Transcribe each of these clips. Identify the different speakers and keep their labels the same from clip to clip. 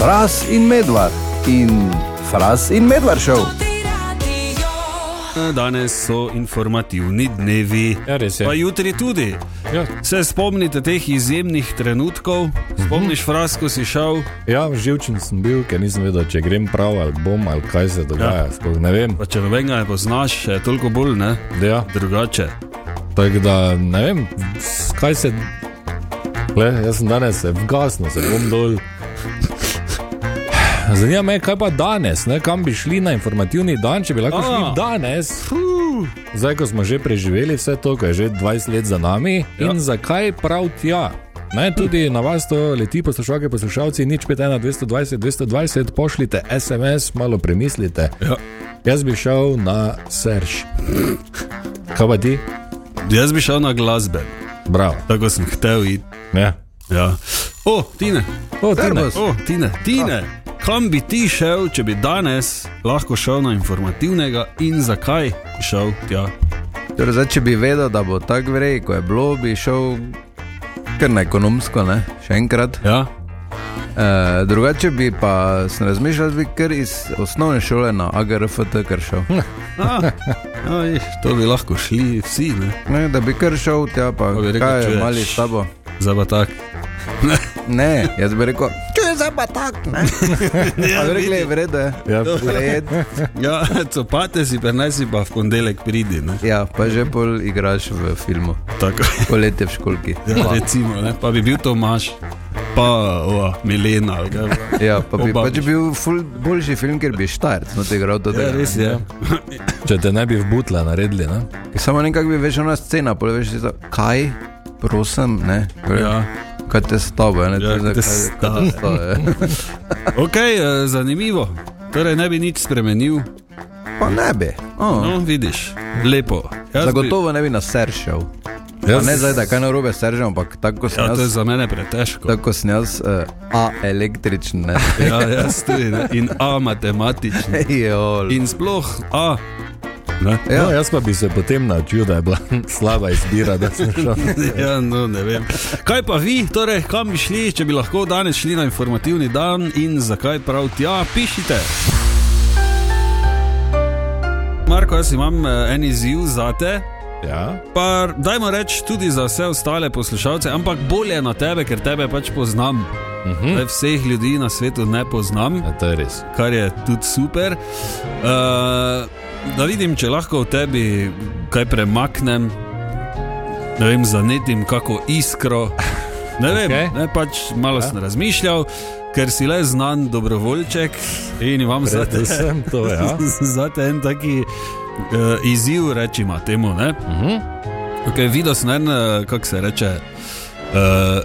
Speaker 1: Fras in medvard in Fras in medvard šov.
Speaker 2: Danes so informativni dnevi,
Speaker 3: Ja, res je.
Speaker 2: pa jutri tudi.
Speaker 3: Ja,
Speaker 2: Se spomnite teh izjemnih trenutkov, spomniš fras, ko si šel,
Speaker 3: ja, živčen sem bil, ker nisem vedel, če grem prav ali bom ali kaj se dogaja. Ja. Sploh ne vem.
Speaker 2: pa če nobenega ne poznaš, še toliko bolj ne,
Speaker 3: Ja,
Speaker 2: drugače.
Speaker 3: tako da ne vem, s- kaj se. Le, jaz sem danes vgasno, se bom dol. Zanima me, kaj pa danes, ne? kam bi šli na informativni dan, če bi lahko šli
Speaker 2: A.
Speaker 3: danes. Zdaj, ko smo že preživeli vse to, kar je že 20 let za nami, ja. in zakaj prav tja? Naj tudi na vas to leti, poslušalke, poslušalci, nič 51, 220, 220, pošljite SMS, malo premislite. Ja. Jaz bi šel na Serž. Kaj pa ti?
Speaker 2: Jaz bi šel na glasbe,
Speaker 3: Bravo.
Speaker 2: tako sem hotel iti.
Speaker 3: Ja.
Speaker 2: Ja. O, tine,
Speaker 3: O, ti ne.
Speaker 1: Servus.
Speaker 2: o, tine, tine. Kam bi ti šel, če bi danes lahko šel na informativnega in zakaj bi šel tja?
Speaker 1: Torej, zdaj, če bi vedel, da bo tako vrej, ko je bilo, bi šel kar na ekonomsko, ne? še enkrat.
Speaker 2: Ja,
Speaker 1: E, drugače bi pa sem razmišljal, da bi kar iz osnovne šole na AGRFT kar šel. Hm,
Speaker 2: A, aj, Ah. to bi lahko šli vsi, ne?
Speaker 1: Ne, da bi kar šel tja, pa
Speaker 2: Pa bi rekel,
Speaker 1: kaj je
Speaker 2: čuješ.
Speaker 1: mali s tabo.
Speaker 2: Zdaj pa tak.
Speaker 1: Ne, jaz bi rekel, če je zdaj pa tak, ne. Ja, bi rekli, v redu je.
Speaker 3: Ja,
Speaker 1: Led,
Speaker 2: Ja, copate si, prenesi pa v ponedeljek pridi, ne?
Speaker 1: ja, pa že pol igraš v filmu,
Speaker 2: Tako.
Speaker 1: poletje v školki.
Speaker 2: Ja, recimo, ne? pa bi bil Tomaš, pa o, Milena. ali kaj je bilo.
Speaker 1: Ja, pa bi
Speaker 2: Oba
Speaker 1: pač bil ful boljši film, ker bi štart, no te igral to
Speaker 2: Ja,
Speaker 1: tega.
Speaker 2: res je.
Speaker 3: Če te ne bi v butla naredili, ne?
Speaker 1: Samo nekako bi veš ona scena, pa veš, tisto, kaj, prosim, ne. Torej,
Speaker 2: Ja.
Speaker 1: Kaj te s tabo, ne,
Speaker 2: Ja,
Speaker 1: to je
Speaker 2: kaj te
Speaker 1: za-
Speaker 2: s
Speaker 1: kaj- kaj te s tabo, ja.
Speaker 2: Ok, eh, zanimivo. Torej, ne bi nič spremenil.
Speaker 1: Pa ne bi. O,
Speaker 2: No, vidiš, lepo. Jaz bi-
Speaker 1: Zagotovo ne bi na ser šel. Ja, ne zdaj, da kaj narobe s seržem, ampak tako sem
Speaker 2: Ja, to je
Speaker 1: jaz,
Speaker 2: za mene pretežko.
Speaker 1: tako sem jaz, uh, a električen, ne.
Speaker 2: Ja, jaz tudi. Ne? In A, matematični.
Speaker 1: Jol.
Speaker 2: In sploh A. Ne?
Speaker 3: Ja. No, jaz pa bi se potem naučil, da je bila slaba izbira, da sem šel.
Speaker 2: Ja, no, ne vem. Kaj pa vi, torej, kam bi šli, če bi lahko danes šli na informativni dan in zakaj prav tja, pišite. Marko, jaz imam eh, en izziv za te.
Speaker 3: Ja,
Speaker 2: Pa, dajmo reči tudi za vse ostale poslušalce, ampak bolje na tebe, ker tebe pač poznam. Uh -huh. Vseh ljudi na svetu ne poznam,
Speaker 3: ja, to je res.
Speaker 2: kar je tudi super. Uh, da vidim, če lahko v tebi kaj premaknem, ne vem, zanetim kako iskro. Ne vem,
Speaker 3: Okej.
Speaker 2: okay. ne, pač malo ja. sem razmišljal, ker si le znan dobrovoljček in imam za te,
Speaker 3: Predvsem to, ja.
Speaker 2: za te en taki uh, izziv, rečemo temu. Ne?
Speaker 3: Mhm.
Speaker 2: Okay, videl sem en, eh, kako se reče, uh, uh,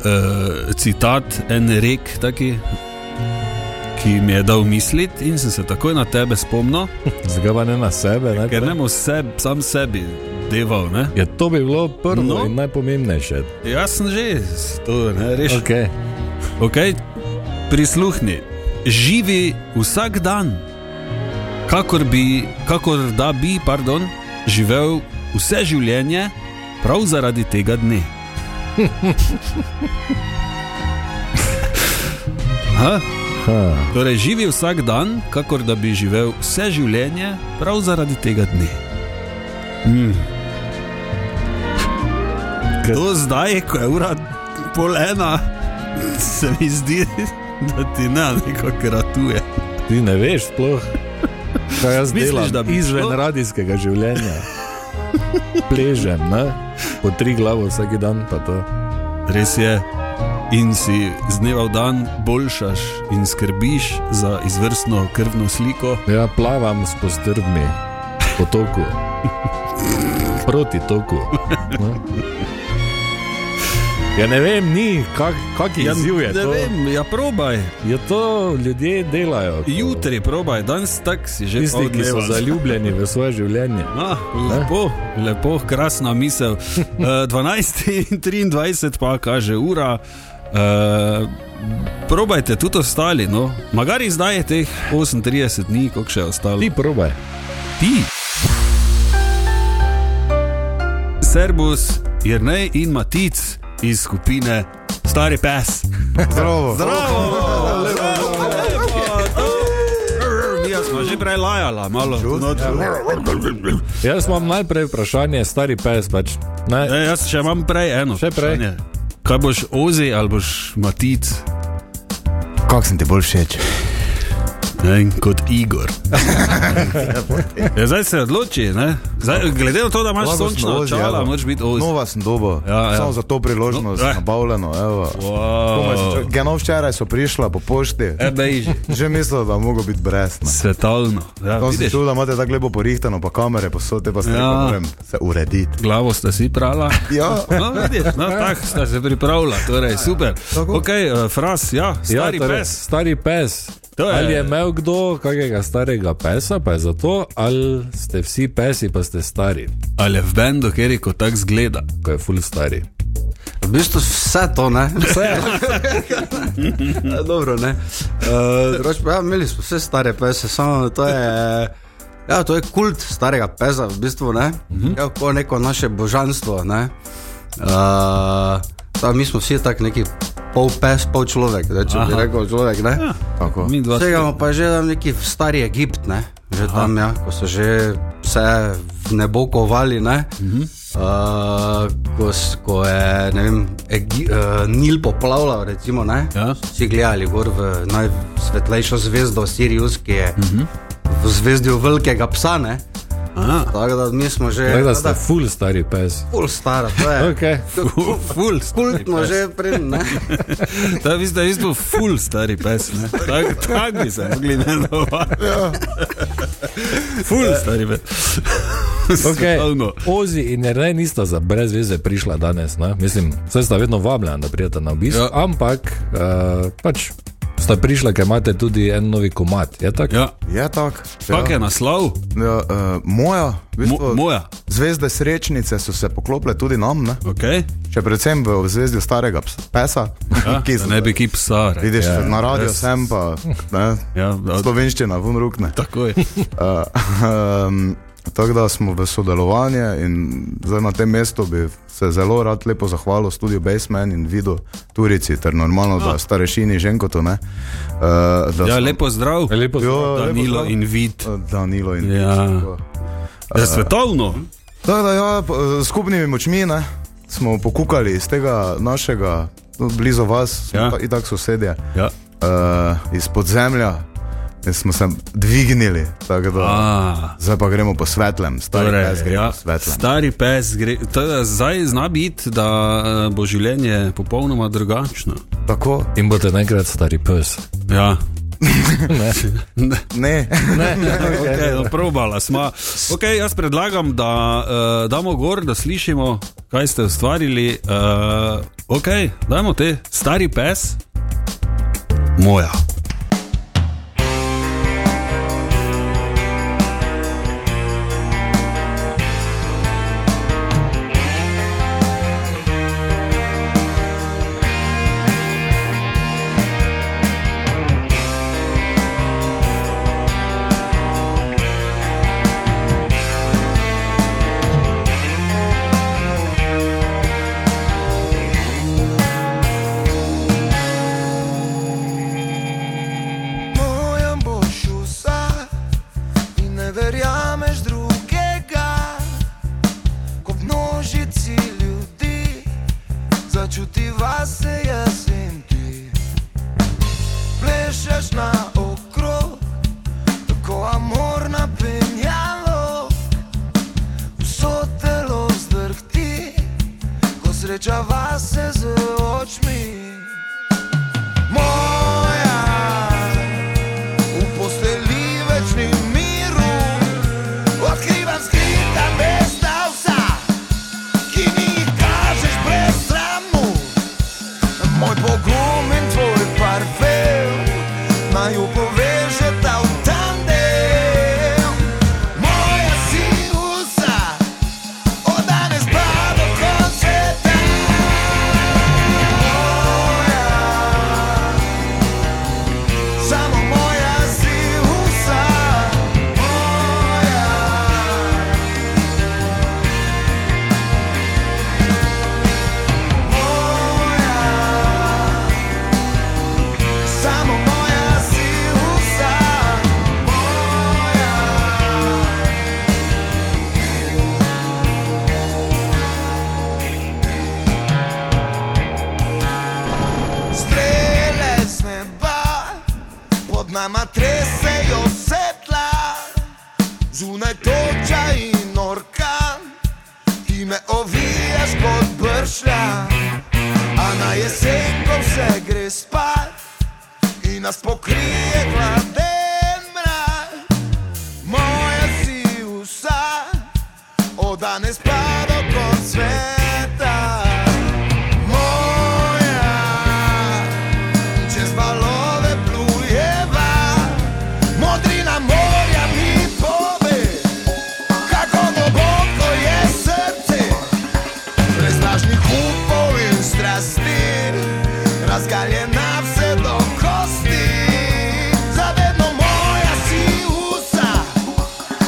Speaker 2: citat, en rek, taki, ki mi je dal misliti, in sem se takoj na tebe spomnil,
Speaker 3: Zdaj pa ne na sebe, ne?
Speaker 2: ker ne bom seb, sam sebi deval. Ne?
Speaker 3: Ja, to bi bilo prvo
Speaker 2: No.
Speaker 3: no. in najpomembnejše.
Speaker 2: Jaz sem že s- to ne, rešil. Okay.
Speaker 3: Okay.
Speaker 2: Okay, prisluhni, živi vsak dan, kakor, bi, kakor da bi pardon, živel vse življenje, prav zaradi tega dne. Aha,
Speaker 3: Ha.
Speaker 2: torej, živi vsak dan, kakor da bi živel vse življenje, prav zaradi tega dne. Hmm. To zdaj, ko je ura pol ena, se mi zdi, da ti ne nekako ratuje.
Speaker 3: Ti ne veš sploh, kaj jaz
Speaker 2: Misliš,
Speaker 3: delam
Speaker 2: da bi
Speaker 3: izven
Speaker 2: šlo?
Speaker 3: radijskega življenja. Pležem, ne? po tri glavo vsak dan, pa to.
Speaker 2: Res je. In si z dneva v dan boljšaš in skrbiš za izvrstno krvno sliko.
Speaker 3: Ja, plavam s postrvmi po toku, proti toku. No. Ja, ne vem, ni, kak, kak izziv je
Speaker 2: Ja, ne
Speaker 3: to.
Speaker 2: vem, ja, probaj.
Speaker 3: Je to ljudje delajo. ko-
Speaker 2: Jutri probaj, danes tak si že
Speaker 3: Tisti,
Speaker 2: pol
Speaker 3: ki so
Speaker 2: dneva.
Speaker 3: zaljubljeni v svoje življenje.
Speaker 2: Ah, lepo, lepo, krasna misel. Eh, 12 in 23 pa kaže ura. Uh, probajte tudi ostali, no. Magari zdaj je teh 38 dni, koliko še je ostalo.
Speaker 3: Ti probaj.
Speaker 2: ti. Servus, Jrnej in Matic iz skupine Stari pes. Zdravo!
Speaker 1: Zdravo.
Speaker 2: Zdravo! Igorja smo ja že prej lajala, malo. No,
Speaker 3: Jaz imam najprej vprašanje, stari pes pač. Ne,
Speaker 2: e, jaz še imam prej eno.
Speaker 3: Še prej.
Speaker 2: vprašanje. Kaj boš ozi ali boš matic?
Speaker 4: Kako sem ti bolj všeč?
Speaker 2: Ne, vem, kot Igor. ja, zdaj se odloči, ne? zdaj, glede na to, da imaš
Speaker 4: Lahko sem
Speaker 2: sončno
Speaker 4: Ozi, No,
Speaker 2: očala,
Speaker 4: evo.
Speaker 2: moraš biti ozi.
Speaker 4: Nova sem dobo,
Speaker 2: Ja, ja.
Speaker 4: samo za to priložnost,
Speaker 2: No, eh.
Speaker 4: nabavljeno. evo. Komaj sem čakal. Geno včeraj so prišla po pošti,
Speaker 2: Ebejži.
Speaker 4: že mislil, da mogo biti brez. ne.
Speaker 2: Ja, Svetovno. Ja,
Speaker 4: Tam sem
Speaker 2: vidiš,
Speaker 4: čul, da imate tako lepo porihtano, pa kamere posode, pa
Speaker 2: Ja.
Speaker 4: se ja. moram se urediti.
Speaker 2: glavo sta si prala.
Speaker 4: Ja,
Speaker 2: No, vidiš, no, tako sta se pripravila, torej super. Ok, uh, fras, ja, stari ja,
Speaker 3: torej,
Speaker 2: pes.
Speaker 3: Stari pes.
Speaker 2: To je-
Speaker 3: Ali je imel kdo kakega starega pesa, pa je zato, ali ste vsi pesi, pa ste stari,
Speaker 2: Ali je v bendu, kjer je kot tak zgleda.
Speaker 3: ko je full stari.
Speaker 5: V bistvu vse to, ne? Vse. Dobro, ne. Uh, drugače pa, ja, imeli smo vse stare pese, samo to je. Ja, to je kult starega pesa, v bistvu, ne? Ja, kot neko naše božanstvo, ne? Uh, ta, mi smo vsi tako neki pol pes, pol človek, da, če Aha. bi rekel človek, ne? Ja.
Speaker 4: tako.
Speaker 2: Mi dva.
Speaker 5: Vsega pa že tam neki v stari Egipt, ne? že Aha. tam, ja, ko so že vse v nebo kovali. Ne? Uh -huh. uh, ko, s- ko je ne vem, Egi, uh, Nil poplavljal, recimo, ne?
Speaker 2: Ja.
Speaker 5: si gledali gor v najsvetlejšo zvezdo, Sirius, ki je uh -huh. v zvezdju velikega psa. Ne?
Speaker 2: Aha.
Speaker 5: Tako da mi smo že.
Speaker 3: Tako da
Speaker 5: tako
Speaker 3: ste full stari pes.
Speaker 5: Ful stara, to
Speaker 2: Ja.
Speaker 5: je.
Speaker 3: Okay.
Speaker 2: Ful, ful,
Speaker 3: no,
Speaker 5: Kultno že prej, ne?
Speaker 2: ta vi ste v bistvu ful stari pes, ne? Tako tak bi se mogli imenovati.
Speaker 4: Ja.
Speaker 2: Ful stari pes.
Speaker 3: Okay.
Speaker 2: Svetovno.
Speaker 3: Ozi in Rene nista za brez veze prišla danes. Ne? Mislim, vse sta vedno vabljena, da pridete na obisk, ja.
Speaker 2: Ja.
Speaker 3: ampak uh, pač sta prišla, ker imate tudi en novi komat. Je tako?
Speaker 2: Ja,
Speaker 4: Je tako.
Speaker 2: kak je naslov?
Speaker 4: Ja, uh, moja, v
Speaker 2: Mo,
Speaker 4: bistvu,
Speaker 2: moja.
Speaker 4: zvezde srečnice so se poklopile tudi nam, ne?
Speaker 2: Okay.
Speaker 4: še predvsem v ozvezdju starega ps- pesa,
Speaker 2: Ja,
Speaker 4: ki
Speaker 2: da
Speaker 4: so
Speaker 2: ne bi kip sar.
Speaker 4: Vidiš, ja, na radiju sem pa, ne,
Speaker 2: Ja, da-
Speaker 4: slovenščina, vun rukne.
Speaker 2: Takoj.
Speaker 4: Uh, um, Tako da smo v sodelovanju in zdaj na tem mestu bi se zelo rad lepo zahvalil studiu Basement in Vidu Turici, ter normalno, da starešini Ženkotu, ne. Uh, da
Speaker 2: Ja,
Speaker 4: smo-
Speaker 2: lepo zdrav.
Speaker 3: Lepo se
Speaker 4: Jo, lepo
Speaker 2: Danilo
Speaker 4: zdrav.
Speaker 2: in vid.
Speaker 4: Danilo in
Speaker 2: Ja.
Speaker 4: tako.
Speaker 2: Ja, svetovno.
Speaker 4: Tako da, ja, po- s skupnimi močmi ne, smo pokukali iz tega našega, no, blizu vas,
Speaker 2: Ja.
Speaker 4: ja. in tako sosedje,
Speaker 2: Ja.
Speaker 4: uh, iz podzemlja, in smo se dvignili. tako Da,
Speaker 2: A,
Speaker 4: Zdaj pa gremo po svetlem, stari
Speaker 2: torej,
Speaker 4: pes gre
Speaker 2: ja,
Speaker 4: po svetlem.
Speaker 2: stari pes gre. Teda, zdaj zna biti, da eh, bo življenje popolnoma drugačno.
Speaker 4: Tako?
Speaker 3: In boste enkrat stari pes.
Speaker 2: Ja.
Speaker 4: Ne.
Speaker 3: Ne,
Speaker 2: Okay, no, probala smo. Okay, jaz predlagam, da uh, damo gor, da slišimo, kaj ste ustvarili. Uh, ok, dajmo te, stari pes, moja.
Speaker 6: Mojem boš vsak in ne verjameš drugega, ko v množici ljudi začutiva se jaz in ti. Plešeš na okrog, tako amor napenjalo, vso telo zdrhti, ko srečava se z očmi. Moja, v postelji več ni miru, odkrivam skrita mesta vsa, ki mi jih kažeš brez sramu. Moj pogum in tvoj parfem naju povežeta v tandem. Moja si vsa, od danes pa do konca sveta. nama tresejo svetla, zunaj toča in orkan, ti me ovijaš pod bršlja, a na jesen, ko vse gre spat in nas pokrije hladen mrak, moja si vsa, od danes pa do konca sveta. Moja, čez valove plujeva, modrina morja mi pove, kako globoko je srce, brez lažnih upov in strasti, razgaljena vse do kosti. Za vedno moja si usa,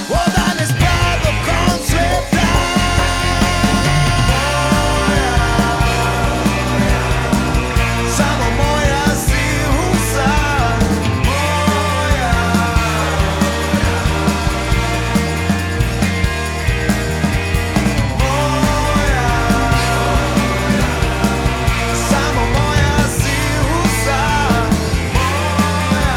Speaker 6: od danes pa do konca sveta. Samo moja si usa, moja. Moja. Samo moja si usa, moja.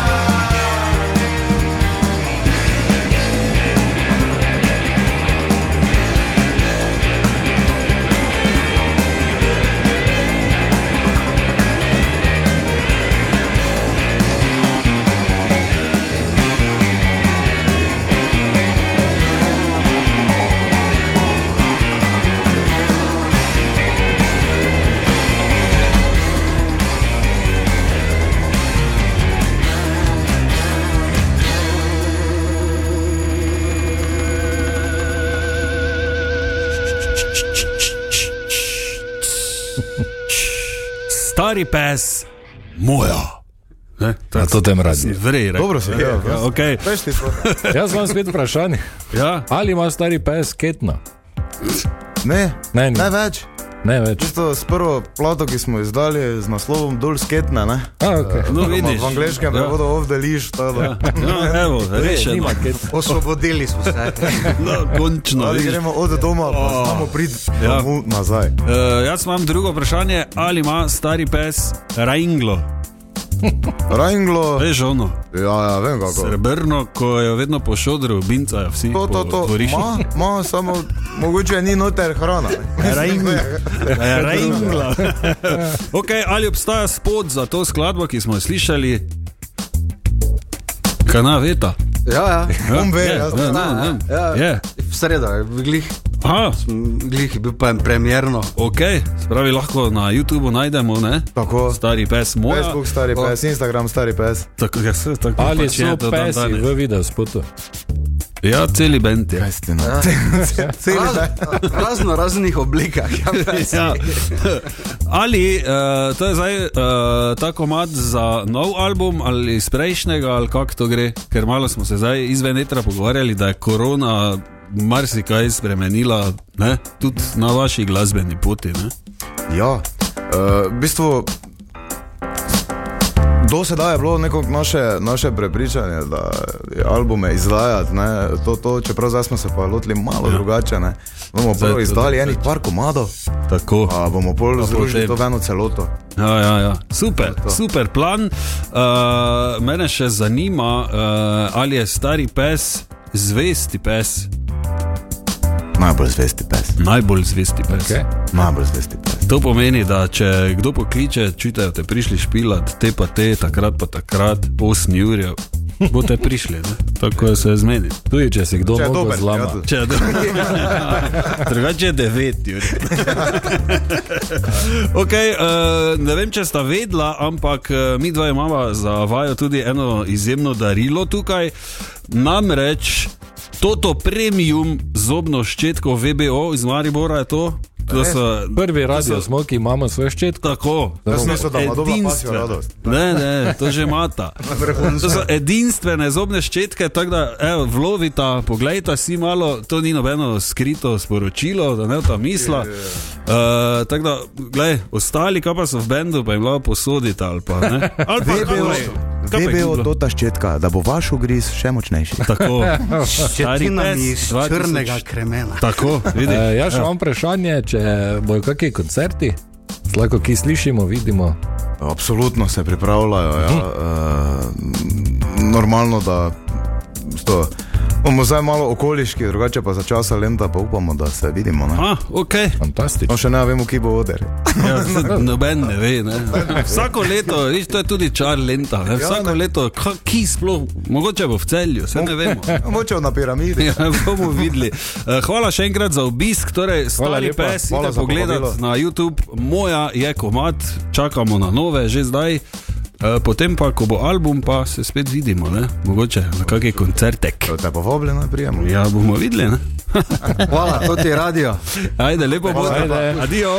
Speaker 2: Stari pes, moja. Ne, to
Speaker 3: Na
Speaker 2: je
Speaker 3: to tem radi.
Speaker 2: vrej, rekel.
Speaker 4: Dobro si rekel.
Speaker 2: Ja, okay.
Speaker 4: Veš ti to?
Speaker 3: Jaz imam spet vprašanje.
Speaker 2: ja.
Speaker 3: Ali ima stari pes ketna?
Speaker 4: Ne,
Speaker 3: Ne,
Speaker 4: ne
Speaker 3: ne,
Speaker 4: več.
Speaker 3: ne več.
Speaker 4: Tisto s prvo plato, ki smo jo izdali z naslovom Dol sketna, ne?
Speaker 3: A, okay.
Speaker 2: No,
Speaker 4: Oziroma
Speaker 2: vidiš.
Speaker 4: V angleškem
Speaker 2: ja.
Speaker 4: prevodu off the leash, tako da.
Speaker 2: Ja, evo, rešeno.
Speaker 3: Nima ketna.
Speaker 5: Osvobodili smo se.
Speaker 2: No, končno.
Speaker 4: Ali
Speaker 2: vidiš.
Speaker 4: gremo od doma, pa samo prid
Speaker 2: Oh. Ja.
Speaker 4: domov nazaj.
Speaker 2: Uh, jaz imam drugo vprašanje, ali ima stari pes Rajnglo,
Speaker 4: Rajnglo,
Speaker 2: veš ono,
Speaker 4: ja, ja, vem kako.
Speaker 2: srebrno, ko je vedno po šodru, bincajo vsi.
Speaker 4: To, to,
Speaker 2: po
Speaker 4: to,
Speaker 2: dvorišču.
Speaker 4: ma, ma, samo mogoče ni noter hrana. ne.
Speaker 2: Rajng- Rajngla. okay, Ja, ali obstaja spod za to skladbo, ki smo jo slišali? Kana veta.
Speaker 5: Ja, ja.
Speaker 4: On ve,
Speaker 2: je,
Speaker 4: jaz
Speaker 2: ja,
Speaker 4: ne
Speaker 2: no,
Speaker 5: znam.
Speaker 2: ne,
Speaker 5: Ja.
Speaker 2: Je.
Speaker 5: V sredo je glih,
Speaker 2: Aha,
Speaker 5: glih je bil pa en premjerno.
Speaker 2: ok, spravi lahko na YouTubu najdemo, ne?
Speaker 4: Tako,
Speaker 2: Stari pes moj.
Speaker 4: Facebook stari pes, Instagram stari pes.
Speaker 2: Tako, ja, se- tako
Speaker 3: Ali
Speaker 2: pač je
Speaker 3: so
Speaker 2: do dan
Speaker 3: pesi
Speaker 2: danes.
Speaker 3: v videospotu?
Speaker 2: Ja, celi bend je.
Speaker 4: Istina.
Speaker 2: Ja.
Speaker 4: Celi
Speaker 5: Raz, razno raznih oblikah. Ja, pes.
Speaker 2: Ja. Ali uh, to je zdaj uh, ta komad za nov album ali iz prejšnjega, ali kako to gre? Ker malo smo se zdaj izven etra pogovarjali, da je korona marsikaj spremenila, ne? tudi na vaši glasbeni poti. Ne?
Speaker 4: Ja, eh, v bistvu. Do sedaj je bilo neko naše, naše prepričanje, da je albume izdajati, ne, to, to, čeprav zdaj smo se pa lotili malo ja. drugače. Ne.
Speaker 2: Zdaj
Speaker 4: Bomo
Speaker 2: je
Speaker 4: prvo
Speaker 2: to
Speaker 4: izdali
Speaker 2: drugače.
Speaker 4: enih par komadov,
Speaker 2: Tako.
Speaker 4: pa bomo pol
Speaker 2: potem.
Speaker 4: združili to v eno celoto.
Speaker 2: Ja, ja, ja. Super, super plan. Uh, mene še zanima, uh, ali je stari pes zvesti pes,
Speaker 4: Najbolj zvesti pes,
Speaker 2: najbolj zvesti pes.
Speaker 3: Okay.
Speaker 4: najbolj zvesti pes.
Speaker 2: To pomeni, da če kdo pokliče, čutijo, te prišli špilat, te pa te, takrat pa takrat, 8 ur, boste prišli, ne? tako je se zmeni.
Speaker 3: Tudi če si kdo
Speaker 4: Če je
Speaker 3: mnogo
Speaker 4: dober, ja,
Speaker 3: zlama.
Speaker 4: tudi.
Speaker 2: Če je dobro. Drugače je 9 ur. okay, uh, ne vem, če sta vedla, ampak eh, mi dva imamo za vajo tudi eno izjemno darilo tukaj. Namreč Toto premium zobno ščetko VBO iz Maribora je to. To so
Speaker 3: Prvi radio smo, ki imamo svoj ščetko.
Speaker 2: Tako.
Speaker 4: Jaz mislim, da ima dobra pasja
Speaker 2: Edinstvene.
Speaker 4: radost.
Speaker 2: Ne, ne, to že mata. To so edinstvene zobne ščetke, tako da evo, vlovita, poglejta si malo, to ni nobeno skrito sporočilo, da ne ta misla. Uh, tako da, gled, ostali, kaj pa so v bendu, pa jim lahko posodita ali pa ne. Ali pa
Speaker 4: VBO,
Speaker 2: kaj pa je
Speaker 4: VBO
Speaker 2: bilo?
Speaker 4: to ta ščetka, da bo vaš ugriz še močnejši.
Speaker 2: Tako, stari
Speaker 5: Četinami
Speaker 2: pes,
Speaker 5: iz
Speaker 2: 2000.
Speaker 5: črnega kremena.
Speaker 2: Tako, vidiš.
Speaker 3: E, jaz še imam vprašanje, če bojo kakšni koncerti, lahko ki slišimo, vidimo.
Speaker 2: Mhm.
Speaker 4: Absolutno se pripravljajo. Ja. Uh, normalno, da sto, bomo zdaj malo okoliški, drugače pa za časa lenta pa upamo, da se vidimo. Ne?
Speaker 2: Ah, ok.
Speaker 3: Fantastično.
Speaker 4: No, še ne vemo, ki bo oder.
Speaker 2: Ja, saj noben ne ve. Ne. Vsako leto, viš, to je tudi čar lenta. Ne. Vsako leto, ka- ki sploh, mogoče bo v celju, se ne vemo.
Speaker 4: Moče na piramidi.
Speaker 2: Ja, bomo videli. Eh, Hvala še enkrat za obisk. Torej, stari
Speaker 3: lepa,
Speaker 2: pes,
Speaker 4: hvala
Speaker 2: idite
Speaker 4: za povabilo.
Speaker 2: pogledati na YouTube, moja je komat, čakamo na nove, že zdaj. Eh, Potem pa, ko bo album, pa se spet vidimo, ne? mogoče na kakšen koncertek.
Speaker 4: Te pa vabljeno prijemo.
Speaker 2: Ja, bomo videli. Ne?
Speaker 5: Hvala, to ti je radio.
Speaker 2: Ajde, lepo bo.
Speaker 3: Ajde.
Speaker 2: Adijo.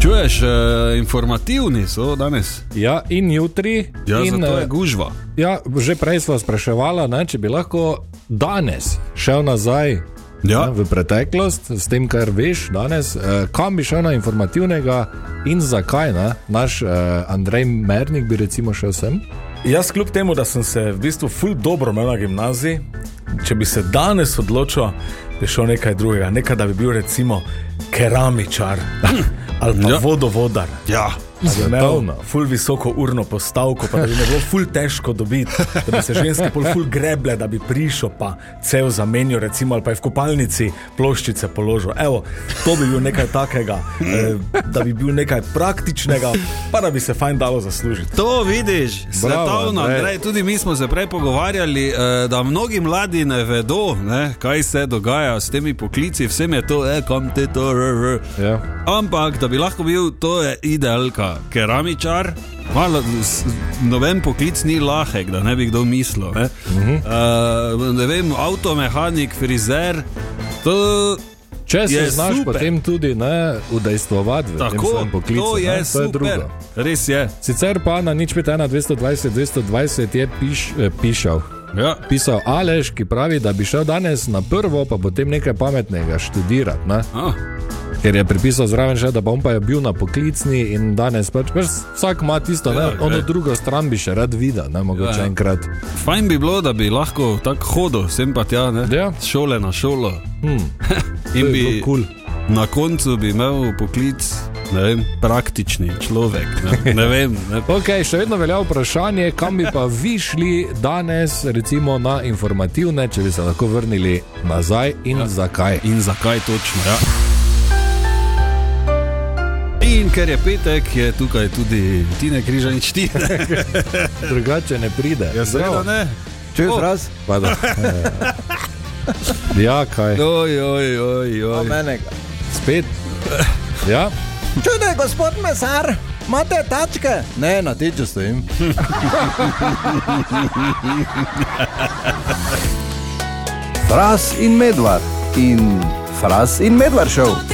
Speaker 2: Čuješ, eh, informativni so danes.
Speaker 3: Ja, in jutri.
Speaker 2: Ja,
Speaker 3: in,
Speaker 2: in, zato je
Speaker 3: eh,
Speaker 2: gužva.
Speaker 3: ja, že prej smo spraševali, ne, če bi lahko danes šel nazaj.
Speaker 2: Ja.
Speaker 3: ne, V preteklost, s tem, kar veš danes, eh, kam bi šel na informativnega in zakaj. Ne? Naš eh, Andrej Mernik bi recimo šel sem.
Speaker 7: Jaz kljub temu, da sem se v bistvu ful dobro imel na gimnaziji, če bi se danes odločil, bi šel nekaj drugega, nekaj da bi bil recimo keramičar ali pa
Speaker 2: Ja.
Speaker 7: ja. vodovodar.
Speaker 2: Ja.
Speaker 7: Da bi imel
Speaker 3: Svetovno.
Speaker 7: Ful visoko urno postavko, pa da bi me bilo ful težko dobiti, da bi se ženske pol ful greble, da bi prišel pa cel zamenjal, recimo, ali pa je v kopalnici ploščice položil. Evo, to bi bil nekaj takega, eh, da bi bil nekaj praktičnega, pa da bi se fajn dalo zaslužiti.
Speaker 2: To vidiš, svetovno,
Speaker 3: Andrej.
Speaker 2: Andrej, tudi mi smo se prej pogovarjali, eh, da mnogi mladi ne vedo, ne, kaj se dogaja s temi poklici, vsem je to, eh, kam te to, rr, rr.
Speaker 3: Ja.
Speaker 2: Ampak, da bi lahko bil, to je idealka, keramičar. Malo, s- noben poklic ni lahek, da ne bi kdo mislil. Ne,
Speaker 3: Mhm.
Speaker 2: uh, ne vem, avtomehanik, frizer. To,
Speaker 3: Če se
Speaker 2: Je
Speaker 3: znaš
Speaker 2: super.
Speaker 3: potem tudi ne, udejstvovati v tem
Speaker 2: tako,
Speaker 3: svojem poklicu,
Speaker 2: to je,
Speaker 3: ne, to je
Speaker 2: super.
Speaker 3: drugo.
Speaker 2: Res je.
Speaker 3: Sicer pa na nič 5, 220, 220 je piš, eh, pišal.
Speaker 2: Ja.
Speaker 3: Pisal Aleš, ki pravi, da bi šel danes na prvo, pa potem nekaj pametnega študirati. Ne?
Speaker 2: Ah,
Speaker 3: Ker je pripisal zraven še, da bom pa je bil na poklicni in danes pač, pač vsak ima tisto,
Speaker 2: Ja,
Speaker 3: ne,
Speaker 2: glej.
Speaker 3: ono drugo stran bi še rad videl, ne mogoče
Speaker 2: Ja, ja.
Speaker 3: enkrat.
Speaker 2: fajn bi bilo, da bi lahko tako hodil sem pa tja, ne?
Speaker 3: Ja.
Speaker 2: S šole na šolo.
Speaker 3: Hm, to
Speaker 2: In
Speaker 3: je
Speaker 2: bi
Speaker 3: bilo kul.
Speaker 2: na koncu bi imel poklic, ne vem, praktični človek. Ne, ne vem, ne,
Speaker 3: Ok, še vedno velja vprašanje, kam bi pa vi šli danes, recimo na informativne, če bi se lahko vrnili nazaj in ja. zakaj.
Speaker 2: in zakaj točno. Ja. In ker je petek, je tukaj tudi Tine Križanič, ti ne.
Speaker 3: Drugače ne pride. Ja,
Speaker 2: Seveda ne.
Speaker 1: Čuješ
Speaker 2: O.
Speaker 1: raz?
Speaker 3: ja kaj,
Speaker 2: Oj, oj, oj, oj.
Speaker 1: Menega.
Speaker 3: spet. Ja,
Speaker 1: Čudaj, gospod mesar, imate tačke? Ne, na teču stojim. fras in medvar in fras in medvar šel.